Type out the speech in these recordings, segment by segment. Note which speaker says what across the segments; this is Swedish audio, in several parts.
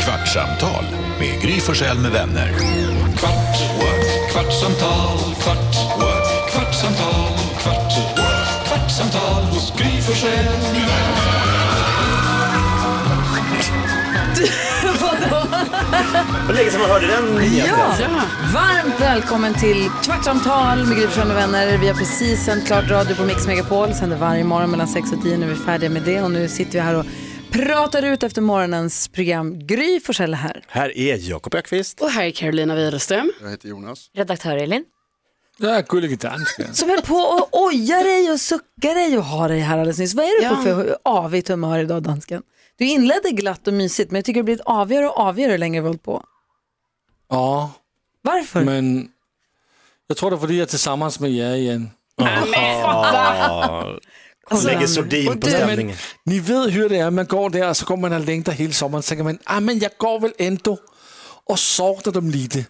Speaker 1: Kvartsamtal med Gry Forssell med vänner. Kvart, what? kvartsamtal, kvart, what? kvartsamtal, kvart, what? kvartsamtal hos Gry Forssell med vänner.
Speaker 2: Det var länge sedan man hörde den nyheten.
Speaker 3: Ja. Varmt välkommen till Kvartsamtal med Gry Forssell med vänner. Vi har precis sänt klart radio på Mix Megapol. Sänder varje morgon mellan 6 och 10. Nu är vi färdiga med det och nu sitter vi här och pratar ut efter morgonens program. Gry Forssell är här.
Speaker 2: Här är Jakob Ökvist.
Speaker 4: Och här är Carolina Widerström.
Speaker 5: Jag heter Jonas.
Speaker 6: Redaktör Elin.
Speaker 7: Ja, gullige dansken.
Speaker 3: Som höll på och ojar dig och suckar dig och har dig här alldeles nyss. Vad är du på för avigt humör idag dansken? Du inledde glatt och mysigt men jag tycker det blir ett avigare och avigare ju längre vi hållit på.
Speaker 7: Ja,
Speaker 3: Varför?
Speaker 7: men jag tror det är för att jag är tillsammans med er igen.
Speaker 3: Kolla.
Speaker 2: Lägger sordin på stämningen.
Speaker 7: Ni vet hur det är, man går där och så går man och längtar hela sommaren. Så tänker man, ah, men jag går väl ändå och saknar dem lite.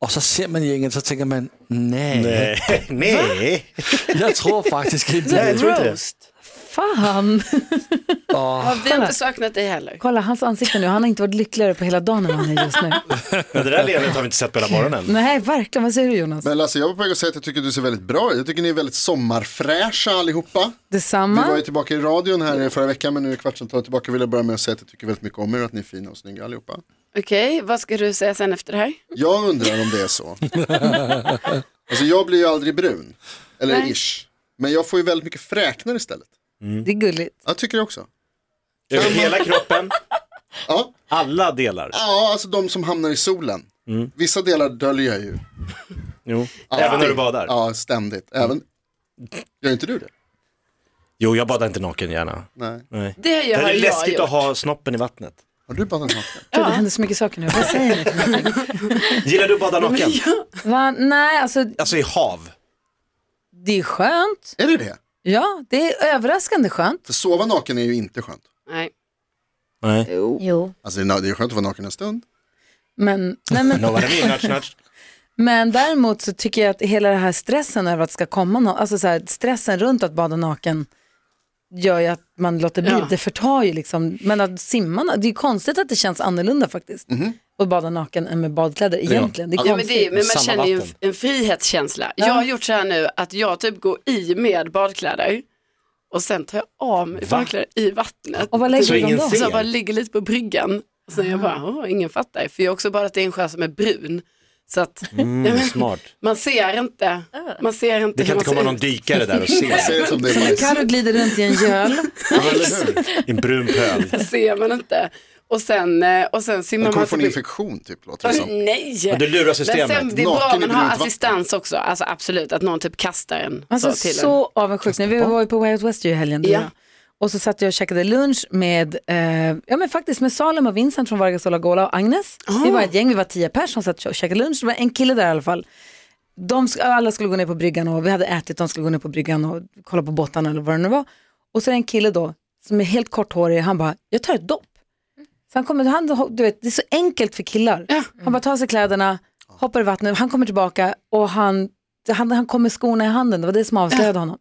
Speaker 7: Och så ser man gänget så tänker man, nej,
Speaker 2: Nej, Eh, nej.
Speaker 7: jag tror faktiskt inte
Speaker 2: Nej, jag
Speaker 7: det.
Speaker 2: tror inte det.
Speaker 3: Fan!
Speaker 2: Ah.
Speaker 7: Åh,
Speaker 4: Vi har inte saknat dig heller.
Speaker 3: Kolla hans ansikte nu, han har inte varit lyckligare på hela dagen än vad han är just nu.
Speaker 2: Men det där leendet har vi inte sett på hela morgonen.
Speaker 3: Nej, verkligen. Vad säger du Jonas?
Speaker 5: Men Lasse, jag var på väg att säga att jag tycker du ser väldigt bra ut. Jag tycker ni är väldigt sommarfräscha allihopa. Vi var ju
Speaker 3: Detsamma.
Speaker 5: tillbaka i radion här i förra veckan men nu är Kvartsamtalet tillbaka. Jag ville börja med att säga att jag tycker väldigt mycket om er och att ni är fina och snygga allihopa.
Speaker 4: Okej, vad ska du säga sen efter det här?
Speaker 5: Jag undrar om det är så. alltså jag blir ju aldrig brun. Eller ish. Men jag får ju väldigt mycket fräknar istället.
Speaker 3: Det är gulligt.
Speaker 5: Jag tycker det också.
Speaker 2: Över hela kroppen,
Speaker 5: Ja,
Speaker 2: alla delar.
Speaker 5: ja alltså de som hamnar i solen. Vissa delar döljer jag ju.
Speaker 2: Jo. Även Mm. när du badar.
Speaker 5: Ja, ständigt. Även... Gör inte du det?
Speaker 2: Jo, jag badar inte naken gärna.
Speaker 5: Nej.
Speaker 2: Nej.
Speaker 4: Det har
Speaker 2: Det
Speaker 4: jag
Speaker 2: är
Speaker 4: jag
Speaker 2: läskigt
Speaker 4: gjort.
Speaker 2: att ha snoppen i vattnet.
Speaker 5: Har du badat naken?
Speaker 3: Ja. Det händer så mycket saker nu. Vad säger ni? för någonting?
Speaker 2: Gillar du att bada naken?
Speaker 3: Va? Nej, alltså
Speaker 2: Alltså i hav.
Speaker 3: det är skönt.
Speaker 5: Är det det?
Speaker 3: Ja, det är överraskande skönt.
Speaker 5: För sova naken är ju inte skönt.
Speaker 4: Nej.
Speaker 2: Nej.
Speaker 6: Jo.
Speaker 5: Alltså det är na- det är skönt att vara naken en stund.
Speaker 3: Men, nej, men,
Speaker 2: No, vad är det? Natch, natch.
Speaker 3: men däremot så tycker jag att hela den här stressen över att det ska komma någon, alltså så här, stressen runt att bada naken gör ju att man låter bli.
Speaker 4: Ja.
Speaker 3: Det förtar ju liksom. Men att simma, na- det är ju konstigt att det känns annorlunda faktiskt.
Speaker 5: Mhm.
Speaker 3: Att bada naken än med badkläder egentligen. Det är
Speaker 4: Ja, men
Speaker 3: konstigt.
Speaker 4: det, är- men man
Speaker 2: Samma
Speaker 4: känner ju en,
Speaker 2: vatten.
Speaker 4: en frihetskänsla. Jag har gjort så här nu att jag typ går i med badkläder och sen tar jag av mig
Speaker 2: Va?
Speaker 4: badkläder i vattnet.
Speaker 3: Och vad lägger
Speaker 2: Så
Speaker 3: du dem
Speaker 2: ingen
Speaker 3: då?
Speaker 4: Och så
Speaker 2: ser.
Speaker 4: jag bara ligger lite på bryggan. Och sen jag bara, åh, ingen fattar. För jag har också badat i en sjö som är brun. Så att
Speaker 2: Mm, smart.
Speaker 4: man ser inte.
Speaker 3: Ah.
Speaker 4: Man ser inte
Speaker 2: Det kan
Speaker 4: hur
Speaker 2: inte komma
Speaker 4: man ser
Speaker 2: någon
Speaker 4: ut.
Speaker 2: dykare där och se.
Speaker 5: Säg det som det är
Speaker 3: När
Speaker 5: nice.
Speaker 3: Carro glider runt i en göl.
Speaker 5: Ja, eller hur?
Speaker 2: I en brun pöl.
Speaker 4: Det ser man inte. Och sen, eh, och sen simmar
Speaker 5: Du kommer
Speaker 4: man
Speaker 5: få en
Speaker 4: förbi-
Speaker 5: infektion typ låter det som.
Speaker 4: Nej!
Speaker 2: Men du lurar systemet.
Speaker 4: Men sen, det är
Speaker 5: Naken
Speaker 4: bra
Speaker 5: i
Speaker 4: att man har
Speaker 5: brunt vatten.
Speaker 4: assistans också, alltså absolut, att någon typ kastar en.
Speaker 3: Alltså
Speaker 4: så till en.
Speaker 3: så avundsjuk. När Vi var ju på Way Out West ju i helgen. du
Speaker 4: Ja.
Speaker 3: och jag. Och så satt jag och käkade lunch med, eh, ja men faktiskt med Salem och Vincent från Vargas Ola Gola och Agnes.
Speaker 4: Ah.
Speaker 3: Vi var ett gäng, vi var tio pers som satt och käkade lunch. Det var en kille där i alla fall. De, sk- alla skulle gå ner på bryggan och vi hade ätit, de skulle gå ner på bryggan och kolla på båtarna eller vad det nu var. Och så är det en kille då som är helt korthårig, han bara, jag tar ett dopp. Så han kommer, han, du vet, det är så enkelt för killar. Han bara tar sig kläderna, hoppar i vattnet, han kommer tillbaka och han, han, han kommer med skorna i handen, det var det som avslöjade honom.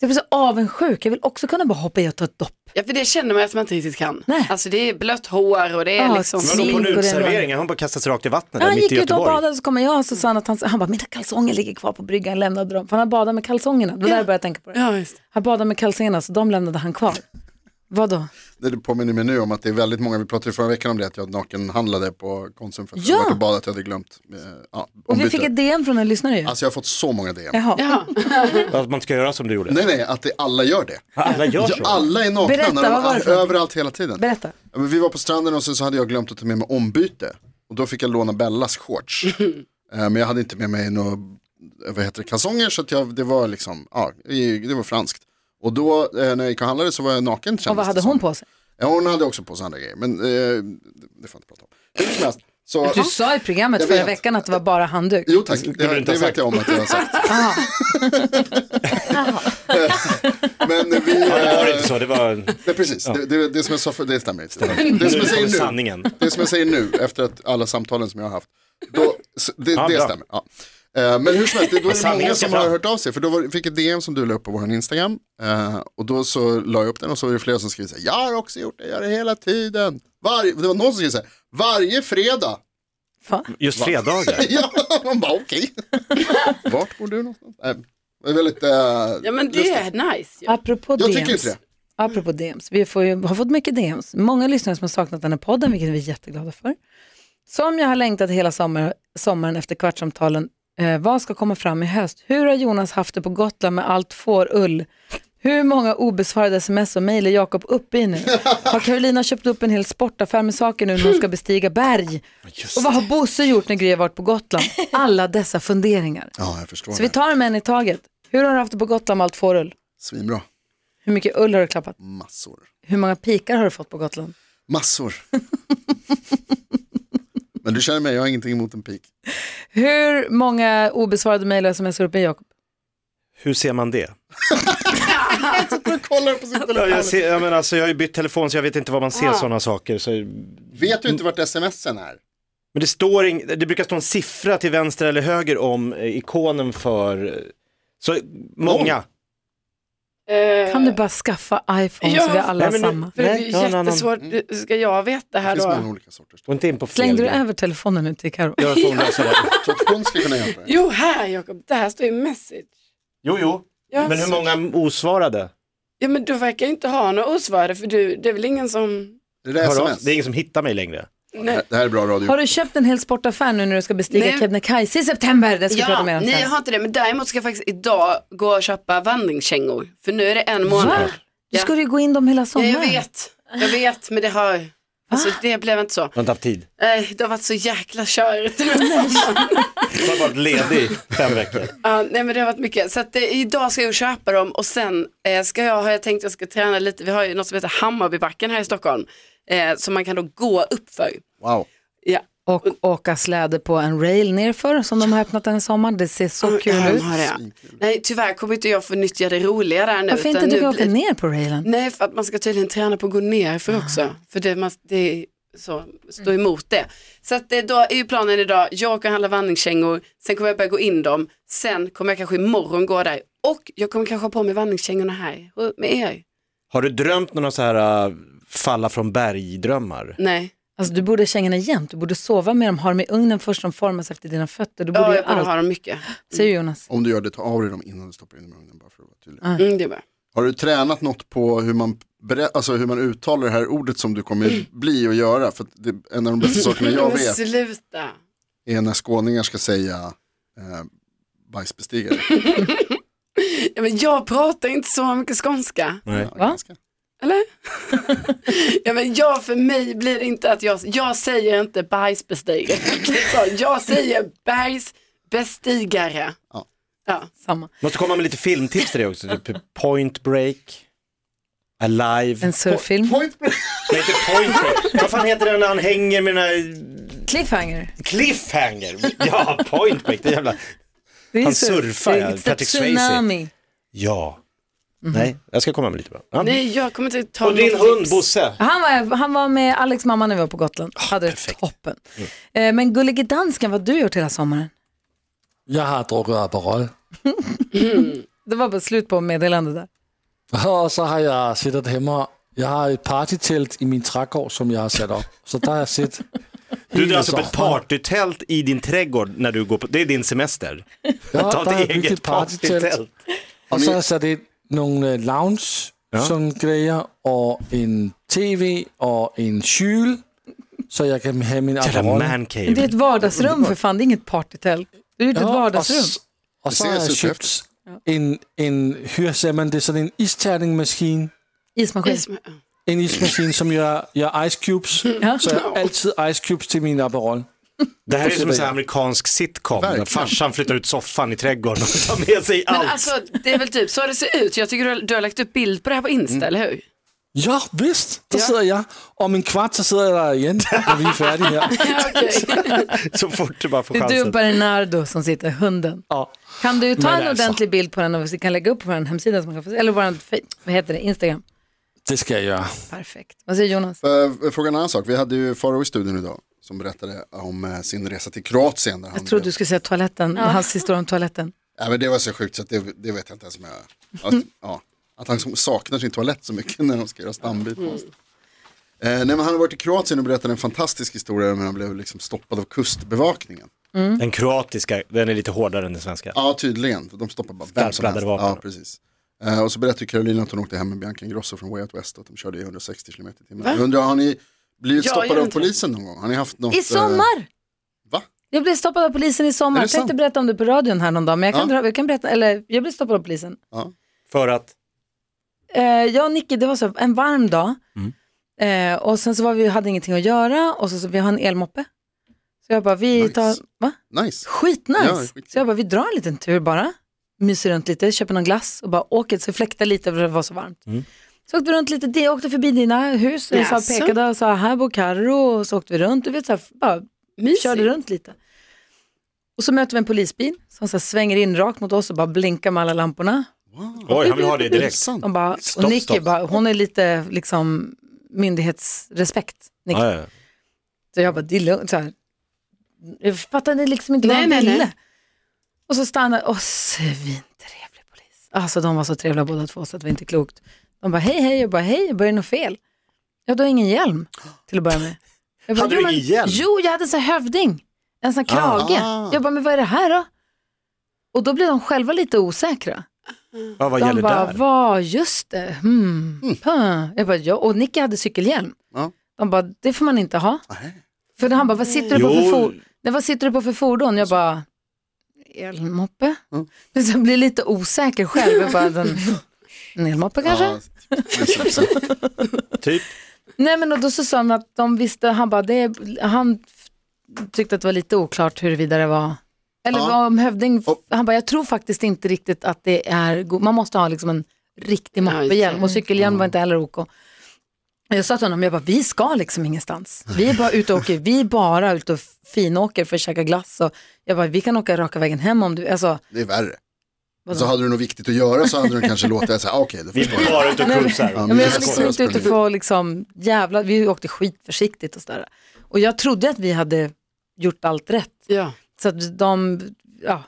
Speaker 3: Jag blir så avundsjuk, jag vill också kunna bara hoppa i och ta ett dopp.
Speaker 4: Ja, för det känner man att man inte riktigt kan.
Speaker 3: Nej.
Speaker 4: Alltså det är blött hår och det är
Speaker 3: Ja,
Speaker 4: liksom...
Speaker 3: ett
Speaker 2: Vadå på en
Speaker 3: Smink och det är
Speaker 2: uteservering? Hon bara kastas rakt i vattnet
Speaker 3: Ja,
Speaker 2: där
Speaker 3: han
Speaker 2: mitt
Speaker 3: gick
Speaker 2: i
Speaker 3: ut och
Speaker 2: Göteborg.
Speaker 3: badade och så kommer jag och så sa han att han, han bara, mina kalsonger ligger kvar på bryggan, jag lämnade dem. För han hade badat med kalsongerna, det var där jag började tänka på det.
Speaker 4: Ja, just.
Speaker 3: Han badade med kalsongerna så de lämnade han kvar. Vadå?
Speaker 5: Det du påminner mig nu om att det är väldigt många, vi pratade ju förra veckan om det, att jag nakenhandlade på Konsum för att
Speaker 3: Ja.
Speaker 5: jag varit och badat, jag hade glömt. eh, Ja,
Speaker 3: Och vi
Speaker 5: ombyte.
Speaker 3: fick ett DM från en lyssnare ju.
Speaker 5: Alltså jag har fått så många DM.
Speaker 3: Jaha.
Speaker 4: Ja.
Speaker 2: Att man ska göra som du gjorde.
Speaker 5: Nej, nej, att det, alla gör det.
Speaker 2: Alla gör så.
Speaker 5: Alla är nakna
Speaker 3: Berätta,
Speaker 5: när de
Speaker 3: vad var det
Speaker 5: är
Speaker 3: för någonting?
Speaker 5: överallt hela tiden.
Speaker 3: Berätta.
Speaker 5: Ja, men vi var på stranden och sen så hade jag glömt att ta med mig ombyte. Och då fick jag låna Bellas shorts. Eh, Men jag hade inte med mig några, eh, vad heter det, kalsonger så att jag, det var liksom, ja, i- det var franskt. Och då eh, när jag gick och handlade så var jag naken kändes
Speaker 3: Och vad hade
Speaker 5: det som.
Speaker 3: hon på sig?
Speaker 5: Ja, hon hade också på sig andra grejer, men eh, det får jag inte prata om. Hur som helst, så,
Speaker 3: Du sa i programmet
Speaker 5: Jag
Speaker 3: förra
Speaker 5: vet.
Speaker 3: veckan att det var bara handduk.
Speaker 5: jo tack, det,
Speaker 2: kunde du
Speaker 5: det,
Speaker 2: inte ha
Speaker 5: vet
Speaker 2: sagt.
Speaker 5: jag om att jag har sagt.
Speaker 3: Ah,
Speaker 5: Men eh, vi,
Speaker 2: Ja, det var
Speaker 5: eh,
Speaker 2: inte så. Det var
Speaker 5: nej, precis, det, det, det som jag sa för, det stämmer inte. Det som
Speaker 2: nu
Speaker 5: jag
Speaker 2: kommer
Speaker 5: säger nu,
Speaker 2: sanningen.
Speaker 5: det som jag säger nu efter att alla samtalen som jag har haft, då, s- det, det
Speaker 2: bra.
Speaker 5: stämmer. Ja. Eh, Men hur som helst, det- då är det
Speaker 2: Sanningen
Speaker 5: många
Speaker 2: ska
Speaker 5: som har
Speaker 2: fram.
Speaker 5: hört av sig, för då var, fick jag ett DM som du la upp på vår Instagram, eh, och då så la jag upp den och så var det flera som skrev så här, jag har också gjort det, jag gör det hela tiden. Varje, det var någon som skrev så här, Varje fredag.
Speaker 3: Va?
Speaker 2: Just fredagar.
Speaker 5: Ja, man bara okej. Vart bor du någonstans? Nej, det är väldigt... eh,
Speaker 4: Ja men det är nice ju.
Speaker 3: Apropå
Speaker 5: Jag
Speaker 3: DMs.
Speaker 5: tycker inte det.
Speaker 3: Apropå DMs. Vi får ju, har fått mycket DMs. Många lyssnare som har saknat den här podden, vilket vi är jätteglada för. Som jag har längtat hela sommar, sommaren efter kvartssamtalen. Eh, vad ska komma fram i höst? Hur har Jonas haft det på Gotland med allt fårull? Hur många obesvarade sms och mejl är Jakob uppe i nu? Har Carolina köpt upp en hel sportaffär med saker nu när hon ska bestiga berg? och vad har Bosse gjort när Gry har varit på Gotland? Alla dessa funderingar.
Speaker 5: Ja, jag förstår.
Speaker 3: Så vi
Speaker 5: det.
Speaker 3: tar dem en i taget. Hur har du haft det på Gotland med allt fårull?
Speaker 5: Svinbra.
Speaker 3: Hur mycket ull har du klappat?
Speaker 5: Massor.
Speaker 3: Hur många pikar har du fått på Gotland?
Speaker 5: Massor. Men du känner mig, jag har ingenting emot en pik.
Speaker 3: Hur många obesvarade mejl och sms har du uppe i Jakob?
Speaker 2: Hur ser man det?
Speaker 5: Du kollar på sin
Speaker 2: Ja,
Speaker 5: telefon.
Speaker 2: Jag, ser, jag, menar, alltså, jag har ju bytt telefon så jag vet inte vad man ser sådana saker. Så, men
Speaker 5: Vet du inte vart smsen är?
Speaker 2: det, står ing, det brukar stå en siffra till vänster eller höger om eh, ikonen för... eh, Så många.
Speaker 4: Eh,
Speaker 3: Kan du bara skaffa iPhone så
Speaker 4: Ja.
Speaker 3: vi alla
Speaker 2: Nej, men nu-
Speaker 3: samma?
Speaker 4: För det är
Speaker 2: Nej,
Speaker 4: ju
Speaker 2: jag har en annan.
Speaker 4: jättesvårt. Ska jag veta
Speaker 5: Mm. Det
Speaker 4: här
Speaker 5: finns många
Speaker 4: då?
Speaker 5: olika sorters.
Speaker 2: Gå inte in på fel
Speaker 3: Slängde du
Speaker 2: grej.
Speaker 3: över telefonen ut till Karo?
Speaker 2: Jag får hon lösa det.
Speaker 5: Så att hon ska kunna hjälpa dig.
Speaker 4: Jo, här Jakob. Där står ju message.
Speaker 2: Jo, jo.
Speaker 4: Ja,
Speaker 2: Men hur många osvarade?
Speaker 4: Ja, men du verkar ju inte ha några osvarade för du, det är väl ingen som...
Speaker 5: Är det
Speaker 2: Hör av-
Speaker 5: sms?
Speaker 2: Det är ingen som hittar mig längre.
Speaker 5: Det här- Det här är bra radio.
Speaker 3: Har du köpt en hel sportaffär nu när du ska bestiga
Speaker 4: Nej.
Speaker 3: Kebnekaise i september? Det ska vi prata
Speaker 4: Ja,
Speaker 3: mer om
Speaker 4: nej jag
Speaker 3: sen.
Speaker 4: har inte det. Men däremot ska jag faktiskt idag gå och köpa vandringskängor. För nu är det en månad.
Speaker 3: Du ska ju gå in dem hela
Speaker 4: Ja,
Speaker 3: sommaren.
Speaker 4: jag vet, jag vet, men det har... Alltså det blev inte så.
Speaker 2: Jag har inte haft tid.
Speaker 4: Nej, det har varit så jäkla körigt.
Speaker 2: Jag har varit ledig i fem veckor.
Speaker 4: Ja, nej men det har varit mycket. Så att, eh, idag ska jag köpa dem och sen eh, ska jag, har jag tänkt att jag ska träna lite. Vi har ju något som heter Hammarbybacken här i Stockholm. Eh, som man kan då gå upp för.
Speaker 5: Wow.
Speaker 4: Ja.
Speaker 3: Och åka släde på en rail nerför som de har öppnat den här sommaren. Det ser så
Speaker 4: Ja,
Speaker 3: kul
Speaker 4: de
Speaker 3: ut.
Speaker 4: har det. Nej, tyvärr kommer inte jag få nyttja det roliga där nu.
Speaker 3: Varför
Speaker 4: utan
Speaker 3: inte du
Speaker 4: nu
Speaker 3: kan åka
Speaker 4: blir-
Speaker 3: ner på railen?
Speaker 4: Nej, för att man ska tydligen träna på att gå ner
Speaker 3: Ah.
Speaker 4: för också. För det, man, det är så,
Speaker 3: Mm.
Speaker 4: stå emot det. Så att det, då är ju planen idag, jag åker och handlar vandringskängor, sen kommer jag börja gå in dem, sen kommer jag kanske imorgon gå där och jag kommer kanske ha på mig vandringskängorna här med er.
Speaker 2: Har du drömt några så här äh, falla från berg-drömmar?
Speaker 4: Nej,
Speaker 3: Alltså, du borde ha kängorna jämt, du borde sova med dem, ha dem i ugnen först, de formas efter dina fötter. Du borde
Speaker 4: ja,
Speaker 3: göra
Speaker 4: jag borde
Speaker 3: allt.
Speaker 4: ha dem mycket.
Speaker 3: Säger Jonas.
Speaker 5: Om du gör det, ta av dig dem innan du stoppar in dem i ugnen. Bara för att vara tydlig.
Speaker 4: Mm, det är bra.
Speaker 5: Har du tränat något på hur man, berä- alltså hur man uttalar det här ordet som du kommer bli och göra? För att det, en av de bästa sakerna jag
Speaker 4: Men
Speaker 5: vet
Speaker 4: sluta.
Speaker 5: är när skåningar ska säga eh, bajsbestigare.
Speaker 4: Ja, men jag pratar inte så mycket skånska.
Speaker 2: Nej.
Speaker 5: Ja, ganska.
Speaker 4: Eller? ja, men jag, för mig blir det inte att jag, jag säger inte bergsbestigare. Så jag säger bergsbestigare.
Speaker 5: Ja.
Speaker 4: Ja.
Speaker 3: Samma.
Speaker 2: Måste komma med lite filmtips till dig också. Typ Point Break, Alive.
Speaker 3: En surffilm.
Speaker 5: Point break.
Speaker 2: Nej, inte Point Break. Vad fan heter den när han hänger med den här
Speaker 3: Cliffhanger.
Speaker 2: cliffhanger? Ja, Point Break. Det är jävla...
Speaker 3: Det är
Speaker 2: Han
Speaker 3: surf.
Speaker 2: surfar, ja.
Speaker 3: Det är ett
Speaker 2: Patrick Swayze.
Speaker 3: Tsunami.
Speaker 2: Ja. Nej, jag ska komma med lite bra. Ja.
Speaker 4: Nej, jag kommer inte ta
Speaker 2: Och din
Speaker 4: något
Speaker 2: hund
Speaker 4: tips.
Speaker 2: Bosse.
Speaker 3: Han var, han var med Alex mamma när vi var på Gotland.
Speaker 2: Ah,
Speaker 3: Hade det toppen.
Speaker 2: Mm.
Speaker 3: Eh, Men Gullige Dansken, vad har du gjort hela sommaren?
Speaker 7: Jag har druckit Aperol.
Speaker 3: Det var bara slut på meddelande där.
Speaker 7: Och så har jag suttit hemma. Jag har ett partytält i min trädgård som jag har satt upp. Så där har jag suttit.
Speaker 2: Du drar
Speaker 7: hela
Speaker 2: alltså upp ett
Speaker 7: sommaren.
Speaker 2: partytält i din trädgård när du går på, det är din semester.
Speaker 7: Ja,
Speaker 2: Ta
Speaker 7: der
Speaker 2: ett
Speaker 7: er et
Speaker 2: eget
Speaker 7: hyggeligt
Speaker 2: partytält.
Speaker 7: partytält. Och så har jag satt in nogle øh, lounge sådan grejer och en tv och en kyl. Så jag kan ha min
Speaker 2: Jävla
Speaker 7: Aperol.
Speaker 2: mancave.
Speaker 3: Men det är ett vardagsrum för fan, det är inget partytält. Du har gjort ett vardagsrum.
Speaker 7: Och så
Speaker 5: Det
Speaker 7: har
Speaker 5: ser
Speaker 7: jag
Speaker 5: superhäftigt
Speaker 7: köpt en, en hur säger man det, sådan en isterningmaskin.
Speaker 3: Ismaskin.
Speaker 4: Is- ja.
Speaker 7: En ismaskin som gör, gör Ice Cubes. Så jag har alltid Ice Cubes till min Aperol.
Speaker 2: Det här är som en sån här amerikansk sitcom. Där
Speaker 5: Verkligen.
Speaker 2: farsan flyttar ut soffan i trädgården och tar med sig
Speaker 4: Men
Speaker 2: allt.
Speaker 4: alltså, det är väl typ så det ser ut. Jag tycker du har, du har lagt upp bild på det här på Insta,
Speaker 3: Mm.
Speaker 4: eller hur?
Speaker 7: Ja, visst, där
Speaker 4: Ja.
Speaker 7: sidder jag. Om en kvart så sidder jag där igen när vi är färdiga her.
Speaker 2: Så fort du bara får
Speaker 3: Det är du och
Speaker 2: chansen.
Speaker 3: Bernardo som sitter, hunden.
Speaker 7: Ja.
Speaker 3: Kan du ta
Speaker 7: Men
Speaker 3: en
Speaker 7: alltså.
Speaker 3: ordentlig bild på den och vi kan lägga upp på vår hemsida, som man kan få se, eller vår, vad heter det, Instagram?
Speaker 7: Det ska jag göra.
Speaker 3: Perfekt. Vad säger Jonas?
Speaker 5: Eh, Fråga en annan sak. Vi hade ju Faro i studion idag som berättade om eh, sin resa till Kroatien. Där han
Speaker 3: Jag trodde
Speaker 5: blev-
Speaker 3: du skulle säga toaletten, hans historia om toaletten.
Speaker 5: ja, men det var så sjukt så att det, det vet jag inte ens om
Speaker 3: Mm. Mm.
Speaker 5: jag... Att, ja, att han som saknar sin toalett så mycket när de ska göra stambyte. någonstans. Eh, nej, men han har varit i Kroatien och berättat en fantastisk historia om hur han blev liksom stoppad av kustbevakningen.
Speaker 2: Den kroatiska, den är lite hårdare än den svenska.
Speaker 5: Ja, tydligen. De stoppar bara vem som helst.
Speaker 2: Skarpladdade vapen.
Speaker 5: Ja, precis. Eh, och så berättade ju Carolina att hon åkte hem med Bianca Ingrosso från Way Out West och att de körde i 160 km i timmen. Jag Undrar, har ni blivit
Speaker 4: Ja, jag
Speaker 5: stoppade
Speaker 4: vet
Speaker 5: av
Speaker 4: inte.
Speaker 5: polisen någon gång? Har ni haft något?
Speaker 3: I sommar!
Speaker 5: eh, va?
Speaker 3: Jag blev stoppad av polisen i sommar.
Speaker 5: Är det
Speaker 3: Jag tänkte
Speaker 5: sant?
Speaker 3: berätta om det på radion här någon dag, men jag kan,
Speaker 5: Ja.
Speaker 3: dra, jag kan berätta, eller jag blev stoppad av polisen.
Speaker 2: För att,
Speaker 3: Eh, jag och Nicky, det var så en varm dag.
Speaker 5: Mm.
Speaker 3: Eh, och sen så var vi, hade ingenting att göra och så, så vi har en elmoppe. Så jag bara, vi
Speaker 5: Nice.
Speaker 3: tar, va?
Speaker 5: Eh, nice.
Speaker 3: Skitnice.
Speaker 5: Ja, skit-
Speaker 3: så jag bara, vi drar en liten tur bara. Myser runt lite, köper någon glass och bara åker, så fläktar lite för det var så varmt.
Speaker 5: Mm.
Speaker 3: Så åkte vi runt lite, det åkte förbi dina hus, och så
Speaker 4: Jaså?
Speaker 3: pekade och sa här bor Carro och så åkte vi runt, du vet så här, bara
Speaker 4: Mysigt.
Speaker 3: körde runt lite. Och så möter vi en polisbil som så här svänger in rakt mot oss och bara blinkar med alla lamporna.
Speaker 2: oj han vill ha det direkt.
Speaker 5: Sant.
Speaker 3: De bara,
Speaker 2: Stopp,
Speaker 3: och Nicky
Speaker 2: stopp.
Speaker 3: bara, hon är lite liksom myndighetsrespekt. Nicky.
Speaker 2: Ja, ja.
Speaker 3: Så jag bara, det är lugnt. Så här. Jag fattade liksom inte vad
Speaker 4: Nej,
Speaker 3: han
Speaker 4: nej,
Speaker 3: ville.
Speaker 4: nej.
Speaker 3: Och så stannade, åh svintrevlig polis. Alltså de var så trevliga båda två så att det var inte klokt. De bara, hej hej, jag bara, hej, var det något fel? Ja, du har ingen hjälm till att börja med. Jag bara,
Speaker 2: Hade du
Speaker 3: "Jo, men-
Speaker 2: ingen hjälm?"
Speaker 3: Jo, jag hade en sån här hövding, en sån här krage.
Speaker 5: Ah.
Speaker 3: Jag bara, men vad är det här då? Och då blev de själva lite osäkra.
Speaker 2: Ja, vad
Speaker 3: De
Speaker 2: gäller
Speaker 3: bara,
Speaker 2: där? Mm.
Speaker 3: vad, just det, hmm, pah." Jag bara, ja, och Nicky hade cykelhjälm.
Speaker 5: Ja.
Speaker 3: De bara, det får man inte ha.
Speaker 5: Nej.
Speaker 3: För han bara, vad sitter du på
Speaker 2: Jo.
Speaker 3: för fordon? Nej, vad sitter du på för fordon? Jag bara, elmoppe. Men så jag blir lite osäker själv. Jag bara, den, en elmoppe kanske?
Speaker 5: Ja, precis.
Speaker 2: Typ,
Speaker 3: Nej men och då så sa han att de visste, han bara, det, är- han f- tyckte att det var lite oklart huruvida det var, eller
Speaker 5: Ja.
Speaker 3: vad om hövding,
Speaker 5: Och-
Speaker 3: han bara, jag tror faktiskt inte riktigt att det är, go- man måste ha liksom en riktig
Speaker 4: just det.
Speaker 3: moppehjälm och cykelhjälm var inte heller OK. Och Jag sa till honom, jag bara, vi ska liksom ingenstans. Vi är bara ute och åker, vi är bara ute och finåker för att käka glass. Och jag bara, vi kan åka raka vägen hem om du, alltså,
Speaker 5: Det är värre. Så hade du något viktigt att göra så hade du kanske låtit det säga, okej, då
Speaker 2: vi
Speaker 5: förstår
Speaker 2: är
Speaker 5: jag.
Speaker 2: bara ute och cruisar.
Speaker 5: Ja,
Speaker 3: Ja, men jag
Speaker 5: Jag
Speaker 3: var liksom
Speaker 5: skojar,
Speaker 3: inte
Speaker 5: jag
Speaker 3: ute för att liksom jävla, vi åkte skitförsiktigt och sådär. Och jag trodde att vi hade gjort allt rätt.
Speaker 4: Ja.
Speaker 3: Så att de, ja,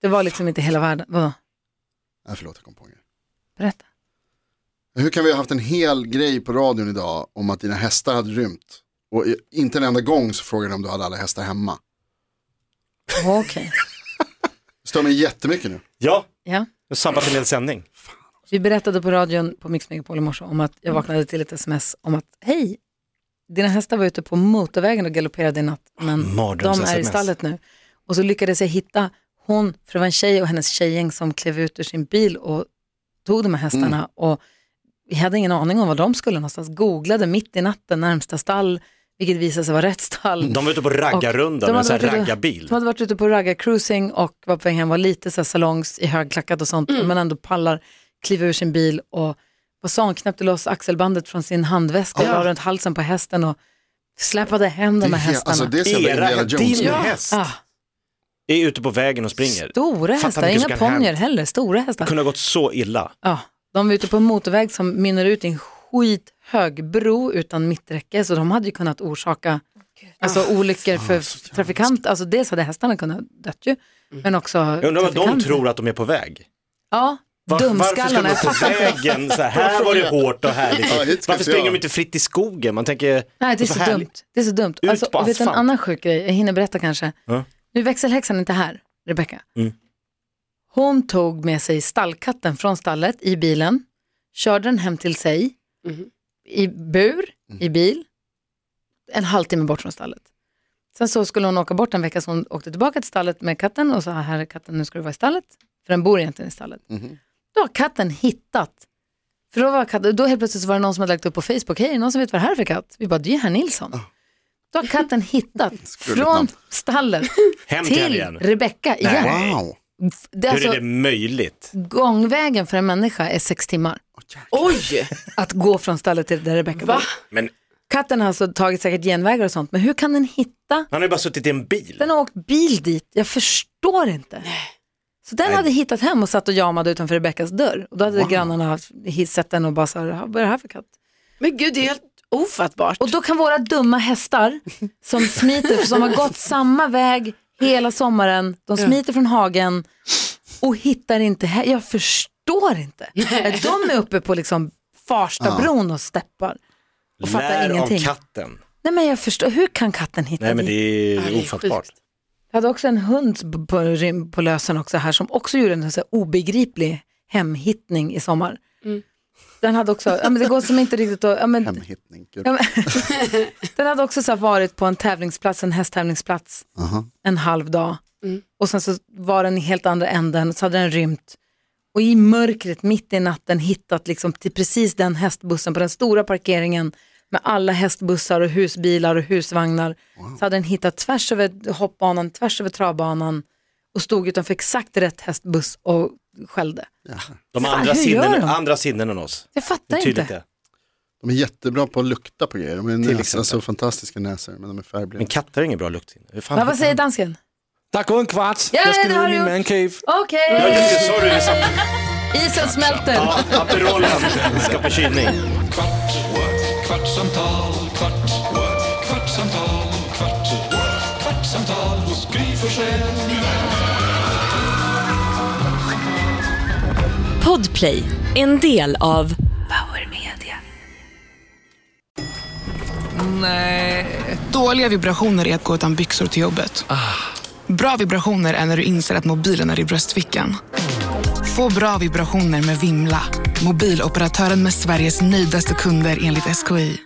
Speaker 3: det var liksom inte hela världen. Vadå?
Speaker 5: Nej, förlåt, jag kom på en grej.
Speaker 3: Berätta.
Speaker 5: Hur kan vi ha haft en hel grej på radion idag om att dina hästar hade rymt? Och i- inte en enda gång så frågade de om du hade alla hästar hemma.
Speaker 3: Okej,
Speaker 5: Det stör mig jättemycket nu.
Speaker 2: Ja,
Speaker 3: ja.
Speaker 2: jag sabbat en hel sändning.
Speaker 3: Vi berättade på radion på Mix Megapol i morse om att jag vaknade till ett sms om att hej, dina hästar var ute på motorvägen och galopperade i natt, men de
Speaker 2: mardröms-sms.
Speaker 3: är i stallet nu. Och så lyckades jag hitta hon, för det var en tjej och hennes tjejgäng som klev ut ur sin bil och tog de här hästarna och vi hade ingen aning om var de skulle någonstans. Googlade mitt i natten närmsta stall, vilket visade sig vara rätt stall.
Speaker 2: De var ute på
Speaker 3: Och
Speaker 2: raggarrunda
Speaker 3: de
Speaker 2: med en
Speaker 3: hade
Speaker 2: sån här
Speaker 3: varit ute-
Speaker 2: raggarbil.
Speaker 3: De hade varit ute på raggarcruising och var på väg hem, var lite så här salongs i högklackat och sånt, men ändå pallar, kliva ur sin bil och vad sa hon, knäppte loss axelbandet från sin handväska,
Speaker 5: Ja.
Speaker 3: la runt halsen på hästen och släpade hem de
Speaker 5: Det
Speaker 3: här
Speaker 5: är he-
Speaker 3: hästarna.
Speaker 5: Alltså det är så jävla
Speaker 2: Era,
Speaker 5: Indiana Jones.
Speaker 2: din
Speaker 5: Ja.
Speaker 2: häst
Speaker 3: ah,
Speaker 2: är ute på vägen och springer.
Speaker 3: stora
Speaker 2: Fattar
Speaker 3: hästar,
Speaker 2: mycket
Speaker 3: inga
Speaker 2: som kan
Speaker 3: ponnyer
Speaker 2: hända.
Speaker 3: heller, stora hästar.
Speaker 2: Det kunde ha gått så illa.
Speaker 3: Ja, de var ute på en motorväg som mynnar ut i en skithög bro utan mitträcke, så de hade ju kunnat orsaka alltså, olyckor
Speaker 2: Ah,
Speaker 3: för trafikanter. Alltså, dels hade hästarna kunnat dött ju, men också
Speaker 2: Jag undrar vad de
Speaker 3: trafikanter.
Speaker 2: tror att de är på väg.
Speaker 3: Ja,
Speaker 2: Var, varför ska
Speaker 3: dumskallarna.
Speaker 2: de
Speaker 3: Jag
Speaker 2: på
Speaker 3: fattar inte.
Speaker 2: vägen? Så här, här var det hårt och
Speaker 5: Ja, hit
Speaker 2: härligt.
Speaker 5: ska
Speaker 2: Varför
Speaker 5: inte
Speaker 2: springer
Speaker 5: jag.
Speaker 2: de inte fritt i skogen? Man tänker,
Speaker 3: Nej, det är så,
Speaker 2: härligt.
Speaker 3: dumt. Det är så dumt.
Speaker 2: Ut
Speaker 3: Alltså,
Speaker 2: på
Speaker 3: och vet du en
Speaker 2: asfalt.
Speaker 3: annan sjuk grej? Jag hinner berätta kanske.
Speaker 2: Ja.
Speaker 3: Nu är växelhäxan inte här, Rebecka.
Speaker 2: Mm.
Speaker 3: Hon tog med sig stallkatten från stallet i bilen, körde den hem till sig,
Speaker 4: Mhm.
Speaker 3: i bur,
Speaker 2: Mm.
Speaker 3: i bil, en halvtimme bort från stallet. Sen så skulle hon åka bort en vecka, så hon åkte tillbaka till stallet med katten och sa, här är katten, nu ska du vara i stallet. För den bor egentligen i stallet.
Speaker 2: Mhm.
Speaker 3: Då har katten hittat för då, var katten, då helt plötsligt så var det någon som hade lagt upp på Facebook, hej, är det någon som vet vad det här är för katt? Vi bara, det är ju herr Nilsson.
Speaker 2: Ah.
Speaker 3: Då har katten hittat från
Speaker 5: namn.
Speaker 3: stallet
Speaker 2: hem till henne
Speaker 3: till
Speaker 2: igen.
Speaker 3: Rebecka igen.
Speaker 2: Nej.
Speaker 5: Wow.
Speaker 3: Det är
Speaker 2: Hur
Speaker 3: alltså,
Speaker 2: är det möjligt?
Speaker 3: gångvägen för en människa är sex timmar.
Speaker 4: Oj!
Speaker 3: Att gå från stallet till där Rebecka bor.
Speaker 4: Va?
Speaker 2: Men
Speaker 3: Katten har alltså tagit säkert genvägar och sånt, men hur kan den hitta?
Speaker 2: han har ju bara suttit i en bil.
Speaker 3: Den har åkt bil dit, jag förstår inte. Så den hade hittat hem och satt och jamade utanför Rebeckas dörr. Och då hade grannarna haft- sett den och bara, så här, vad är det här för katt?
Speaker 4: Men gud, det är helt ofattbart.
Speaker 3: Och då kan våra dumma hästar som smiter, som har gått samma väg hela sommaren, de smiter från hagen och hittar inte här. Jag förstår inte. De är uppe på liksom Farstabron och steppar. och fattar
Speaker 2: Lär
Speaker 3: ingenting.
Speaker 2: av katten.
Speaker 3: Nej men jag förstår, hur kan katten hitta
Speaker 2: Nej men det
Speaker 3: dit?
Speaker 2: är
Speaker 4: Ja, det är
Speaker 2: ofattbart.
Speaker 4: sjukt.
Speaker 3: Jag hade också en hund på- på, rym- på lösen också här som också gjorde en så här obegriplig hemhittning i sommar. Den hade också, ja men det går som inte riktigt att, ja, men,
Speaker 5: Hemhittning. Gud.
Speaker 3: Ja, men, den hade också så här varit på en tävlingsplats, en hästtävlingsplats
Speaker 5: Aha.
Speaker 3: en halv dag. Och sen så var den i helt andra änden, så hade den rymt. Och i mörkret, mitt i natten, hittat liksom till precis den hästbussen på den stora parkeringen med alla hästbussar och husbilar och husvagnar. Så hade den hittat tvärs över hoppbanan, tvärs över travbanan och stod utanför exakt rätt hästbuss och skällde.
Speaker 2: De
Speaker 3: Fan,
Speaker 2: andra
Speaker 3: hur gör
Speaker 2: sinnen,
Speaker 3: de?
Speaker 2: andra sinnen än oss.
Speaker 3: Jag
Speaker 2: Det är
Speaker 3: fattar
Speaker 2: tydligt
Speaker 3: inte.
Speaker 2: det.
Speaker 5: De är jättebra på att lukta på grejer. De är
Speaker 2: Till
Speaker 5: näsor,
Speaker 2: exempel.
Speaker 5: alltså, fantastiska näsor, men de är
Speaker 2: Men
Speaker 5: färgblinda.
Speaker 2: katter har ingen bra luktsinne. Hur fan
Speaker 3: Men vad
Speaker 2: hittar
Speaker 3: säger
Speaker 2: de-
Speaker 3: dansken?
Speaker 7: Der er gået en kvart.
Speaker 3: Ja,
Speaker 7: jeg
Speaker 3: det
Speaker 7: skal ned
Speaker 3: har
Speaker 7: i
Speaker 3: du
Speaker 7: min
Speaker 3: gjort.
Speaker 7: mancave.
Speaker 3: Okej,
Speaker 2: Ja, just det, sorry. det är sant.
Speaker 3: isen smälter.
Speaker 2: Ja, Aperolen ska på kylning.
Speaker 1: Kvart, what? kvartsamtal, kvart, what? kvartsamtal, kvart, what? kvartsamtal hos Gry Forssell med vänner.
Speaker 6: Podplay, en del av
Speaker 8: eh, Dåliga vibrationer är att gå utan byxor till jobbet. Bra vibrationer är när du inser att mobilen är i bröstfickan. Få bra vibrationer med Vimla. Mobiloperatören med Sveriges nöjdaste kunder enligt SKI.